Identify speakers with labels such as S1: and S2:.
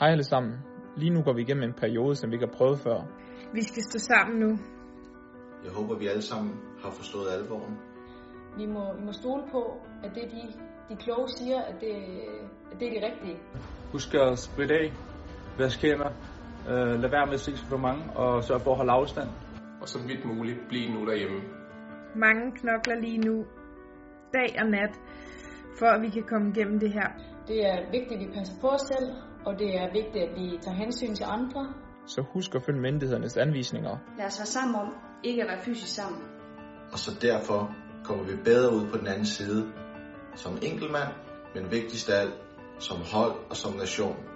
S1: Hej alle sammen. Lige nu går vi igennem en periode, som vi ikke har prøvet før.
S2: Vi skal stå sammen nu.
S3: Jeg håber, vi alle sammen har forstået alvoren.
S4: Vi må, vi må stole på, at det de, de kloge siger, at det, at det er det rigtige.
S5: Husk at spritte af, vask hænder, øh, lad være med at se sig for mange, og sørg for at holde afstand.
S6: og så vidt muligt blive nu derhjemme.
S2: Mange knokler lige nu, dag og nat, for at vi kan komme igennem det her.
S4: Det er vigtigt, at vi passer på os selv, og det er vigtigt, at vi tager hensyn til andre,
S1: Så husk at følge myndighedernes anvisninger.
S7: Lad os være sammen om ikke at være fysisk sammen.
S3: Og så derfor kommer vi bedre ud på den anden side, som enkeltmand, men vigtigst af alt, som hold og som nation.